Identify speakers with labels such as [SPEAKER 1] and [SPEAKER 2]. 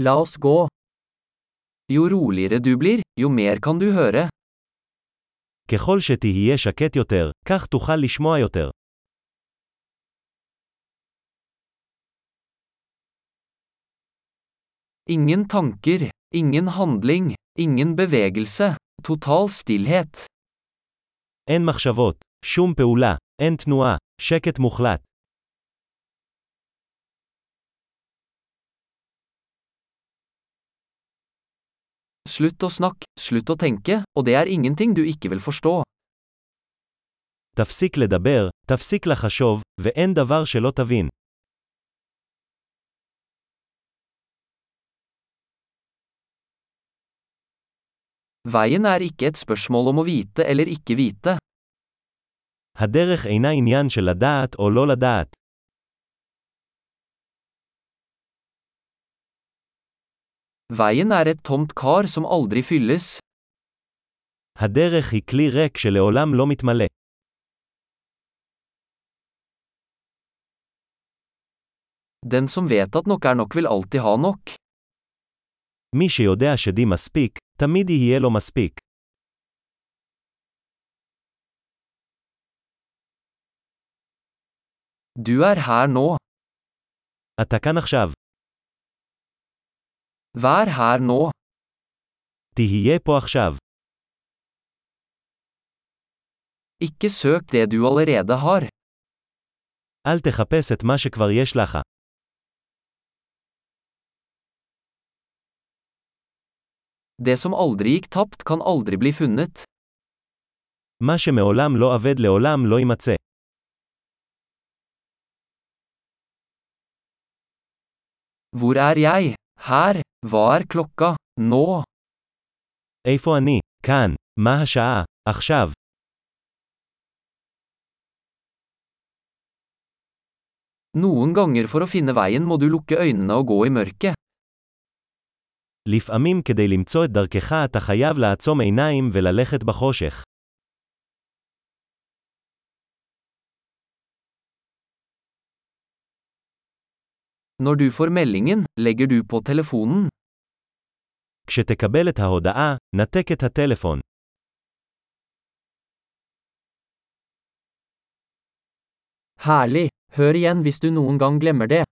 [SPEAKER 1] La oss gå. Jo roligere du blir, jo mer kan du høre.
[SPEAKER 2] ככל שתהיה שקט יותר, כך תוכל לשמוע יותר.
[SPEAKER 1] Ingen tanker, ingen handling, ingen bevegelse, total stillhet.
[SPEAKER 2] אין מחשבות, שום פעולה, אין תנועה, שקט מוחלט.
[SPEAKER 1] Slutt å snakke, slutt å tenke, og det er ingenting du ikke vil forstå.
[SPEAKER 2] תפסיק לדבר, תפסיק לחשוב, ואין דבר שלא תבין.
[SPEAKER 1] Veien er ikke et spørsmål om å vite eller ikke vite.
[SPEAKER 2] הדרך אינה עניין של לדעת או לא לדעת.
[SPEAKER 1] Veien er et tomt kar som aldri fylles.
[SPEAKER 2] הדרך היא כלי ריק שלעולם לא מתמלא.
[SPEAKER 1] Den som vet at nok er nok, vil alltid ha nok.
[SPEAKER 2] מי שיודע שדי מספיק, תמיד יהיה לו מספיק.
[SPEAKER 1] Du er her nå.
[SPEAKER 2] אתה כאן עכשיו.
[SPEAKER 1] Vær her nå.
[SPEAKER 2] תהיה פה עכשיו.
[SPEAKER 1] Ikke søk det du allerede har.
[SPEAKER 2] אל תחפש את מה שכבר יש לך.
[SPEAKER 1] Det som aldri gikk tapt, kan aldri bli funnet.
[SPEAKER 2] מה שמעולם לא אבד לעולם לא יימצא.
[SPEAKER 1] Hvor er jeg? Her. Hva er klokka? Nå.
[SPEAKER 2] איפה אני? כאן. מה השעה? עכשיו.
[SPEAKER 1] Noen ganger for å finne veien må du lukke øynene og gå i mørket.
[SPEAKER 2] לפעמים כדי למצוא את דרכך אתה חייב לעצום עיניים וללכת בחושך.
[SPEAKER 1] Når du får meldingen, legger du på telefonen.
[SPEAKER 2] כשתקבל את ההודעה, נתק את הטלפון.
[SPEAKER 1] Herlig! Hør igjen hvis du noen gang glemmer det.